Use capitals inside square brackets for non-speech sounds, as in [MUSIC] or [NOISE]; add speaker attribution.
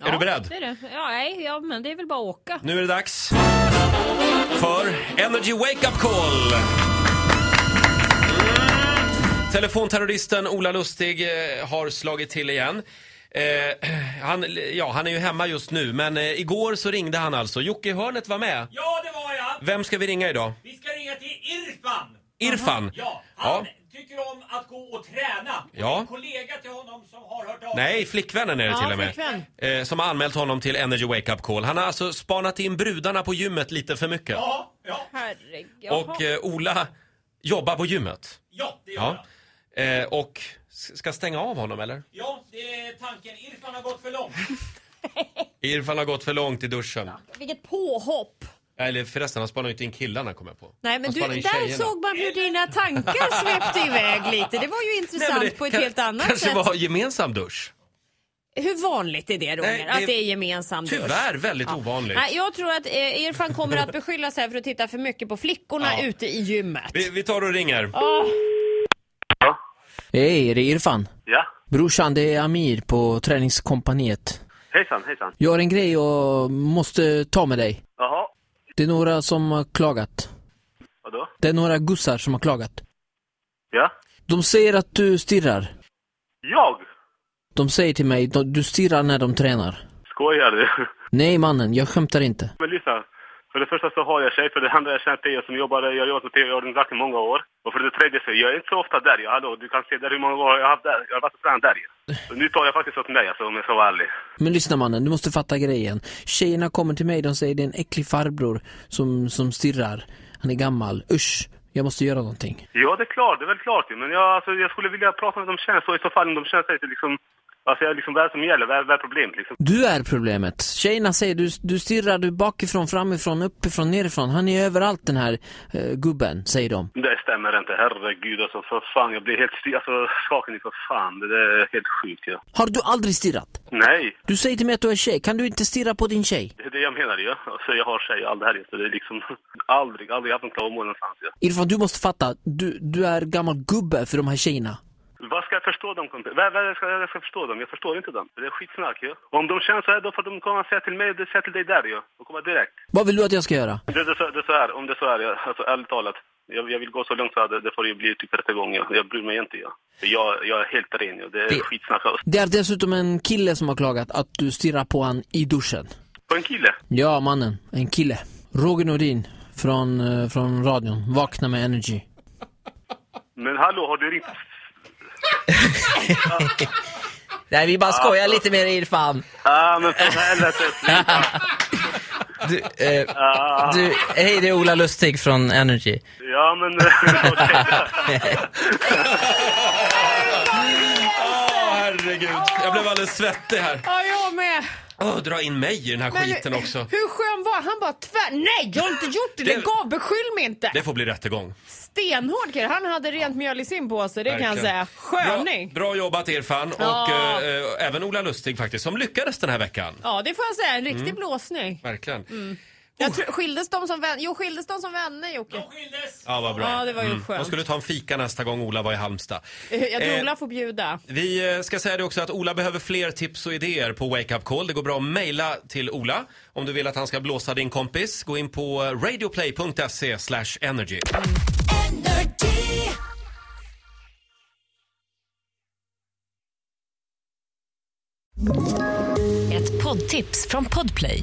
Speaker 1: du beredd?
Speaker 2: Det är det. Ja, nej, ja, men det är väl bara att åka.
Speaker 1: Nu är det dags för Energy Wake Up Call! Mm. Telefonterroristen Ola Lustig eh, har slagit till igen. Eh, [CLEARS THROAT] han, ja, han är ju hemma just nu, men eh, igår så ringde han alltså. Jocke Hörnet var med.
Speaker 3: Ja, det var jag!
Speaker 1: Vem ska vi ringa idag?
Speaker 3: Vi ska ringa till Irfan!
Speaker 1: Irfan?
Speaker 3: Ja, han
Speaker 1: Ja.
Speaker 3: tycker om att gå och träna. Och
Speaker 1: Ja.
Speaker 3: det är en kollega till honom som har hört av
Speaker 1: Nej, flickvännen är det
Speaker 2: Ja,
Speaker 1: till och med.
Speaker 2: flickvän.
Speaker 1: Eh, som har anmält honom till Energy Wake Up Call. Han har alltså spanat in brudarna på gymmet lite för mycket.
Speaker 3: Ja, ja,
Speaker 2: Herregud. jaha.
Speaker 1: Och eh, Ola jobbar på gymmet.
Speaker 3: ja, det gör han.
Speaker 1: Ja. Eh, och s- ska stänga av honom eller?
Speaker 3: Ja, det är tanken. Irfan har gått för
Speaker 1: [LAUGHS]
Speaker 3: långt.
Speaker 1: Irfan har gått för långt i duschen.
Speaker 2: Vilket påhopp.
Speaker 1: Eller förresten, han spanar ju inte in killarna kommer jag på.
Speaker 2: Nej, men
Speaker 1: han
Speaker 2: du,
Speaker 1: spanar in
Speaker 2: där
Speaker 1: tjejerna.
Speaker 2: såg man hur dina
Speaker 1: [LAUGHS]
Speaker 2: tankar svepte iväg lite. Det var ju
Speaker 1: Nej,
Speaker 2: intressant
Speaker 1: men det
Speaker 2: på ett
Speaker 1: kan-
Speaker 2: helt annat
Speaker 1: Kanske
Speaker 2: sätt.
Speaker 1: var gemensam dusch.
Speaker 2: Hur vanligt är det, Roger?
Speaker 1: Nej, det-
Speaker 2: Att det är gemensam dusch?
Speaker 1: Tyvärr väldigt ovanligt.
Speaker 2: Nej, jag tror att eh, Irfan kommer att beskyllas här för att titta för mycket på flickorna
Speaker 1: Ja.
Speaker 2: ute i gymmet.
Speaker 1: Vi, vi tar och ringer.
Speaker 4: Hej, det är Irfan.
Speaker 5: Ja,
Speaker 4: Brorsan, det är Amir på träningskompaniet.
Speaker 5: hejsan hejsan.
Speaker 4: Jag har en grej jag måste ta med dig.
Speaker 5: Jaha,
Speaker 4: Det är några som har klagat.
Speaker 5: vadå?
Speaker 4: Det är några gussar som har klagat.
Speaker 5: Ja?
Speaker 4: De säger att du stirrar.
Speaker 5: Jag?
Speaker 4: De säger till mig att du stirrar när de tränar.
Speaker 5: Skojar du? [LAUGHS]
Speaker 4: Nej mannen, jag skämtar inte.
Speaker 5: Men lyssna. För det första så har jag tjej, för det andra jag känner tjejer som jobbar, jag har jobbat med tv-organisator i många år. Och för det tredje så jag är inte så ofta där. Ja, hallå, du kan se där hur många år jag har haft där. Jag har varit och tränat där ju. Så nu tar jag faktiskt åt mig alltså, om jag ska vara ärlig.
Speaker 4: Men lyssna mannen, du måste fatta grejen. Tjejerna kommer till mig, de säger det är en äcklig farbror som, som stirrar. Han är gammal. Usch, jag måste göra någonting.
Speaker 5: Ja, det är klart, det är väl klart ju. Men jag, alltså, jag skulle vilja prata med dem känner så i så fall om de känner sig till liksom... Alltså jag är liksom, vad är det som gäller? Vad är, vad är problemet liksom?
Speaker 4: Du är problemet. Tjejerna säger du, du stirrar du bakifrån, framifrån, uppifrån, nerifrån. Han är överallt den här eh, gubben, säger de.
Speaker 5: Det stämmer inte, herregud alltså för fan. Jag blir helt stil, alltså skaken i för fan. Det där är helt sjukt ja.
Speaker 4: Har du aldrig stirrat?
Speaker 5: Nej,
Speaker 4: Du säger till mig att du är tjej, kan du inte stirra på din tjej?
Speaker 5: det är det jag menar ju. Alltså, jag har tjej och allt det här. Så det är liksom [LAUGHS] aldrig, aldrig haft en klagomål någonstans. Ja.
Speaker 4: Irfan, du måste fatta, du, du är gammal gubbe för de här tjejerna.
Speaker 5: Vad ska jag förstå dem? kompis? Vad, vad ska jag ska förstå dem? Jag förstår inte dem. Det är skitsnack ju. Om de känner så här då får de komma och säga till mig och säga till dig där ju. Och komma direkt.
Speaker 4: Vad vill du att jag ska göra?
Speaker 5: Det, det, är så- det är så här, om det är så här, ja. alltså ärligt talat. Jag, jag vill gå så långt så här, det, det får ju bli typ rättegång. Ja. Jag bryr mig inte ja. jag. Jag är helt ren ja. Det är
Speaker 4: Det-
Speaker 5: skitsnack.
Speaker 4: Det är dessutom en kille som har klagat att du stirrar på han i duschen.
Speaker 5: På en kille?
Speaker 4: Ja, mannen. En kille. Roger Nordin från, eh, från radion. Vakna med Energy.
Speaker 5: Men hallå, har du ringt?
Speaker 4: Nej, vi bara skojar lite med dig, Irfan.
Speaker 5: Ah, men för helvete.
Speaker 6: Du, eh, du, hej det är Ola Lustig från Energy.
Speaker 5: Ja, men... [LAUGHS] eh, okej.
Speaker 1: Åh herregud, jag blev alldeles svettig här.
Speaker 2: Ja, jag med.
Speaker 1: Åh, dra in mig i den här skiten också.
Speaker 2: Hur skön var han? Han bara tvär... Nej, jag har inte gjort det!
Speaker 1: Det-
Speaker 2: Lägg av, beskyll mig inte!
Speaker 1: Det får bli rättegång.
Speaker 2: Stenhård kille. Han hade rent mjöl i sin påse, det kan jag
Speaker 1: Verkligen.
Speaker 2: säga. Sköning!
Speaker 1: Bra, bra jobbat Irfan och
Speaker 2: Ja.
Speaker 1: eh, eh, även Ola Lustig faktiskt, som lyckades den här veckan.
Speaker 2: Ja, det får jag säga. En riktig blåsning.
Speaker 1: Verkligen.
Speaker 2: Mm.
Speaker 1: Oh,
Speaker 2: Jag tror, skildes de som vänner? Jo, skildes de som vänner, Jocke?
Speaker 3: De skildes!
Speaker 1: Ja, vad bra. Mm.
Speaker 2: Ja, det var ju
Speaker 1: De
Speaker 2: skönt.
Speaker 1: skulle ta en fika nästa gång Ola var i Halmstad.
Speaker 2: Jag tror
Speaker 1: Eh,
Speaker 2: Ola får bjuda.
Speaker 1: Vi eh, ska säga det också att Ola behöver fler tips och idéer på Wake Up Call. Det går bra att mejla till Ola om du vill att han ska blåsa din kompis. Gå in på radioplay.se slash energy.
Speaker 7: Ett poddtips från Podplay.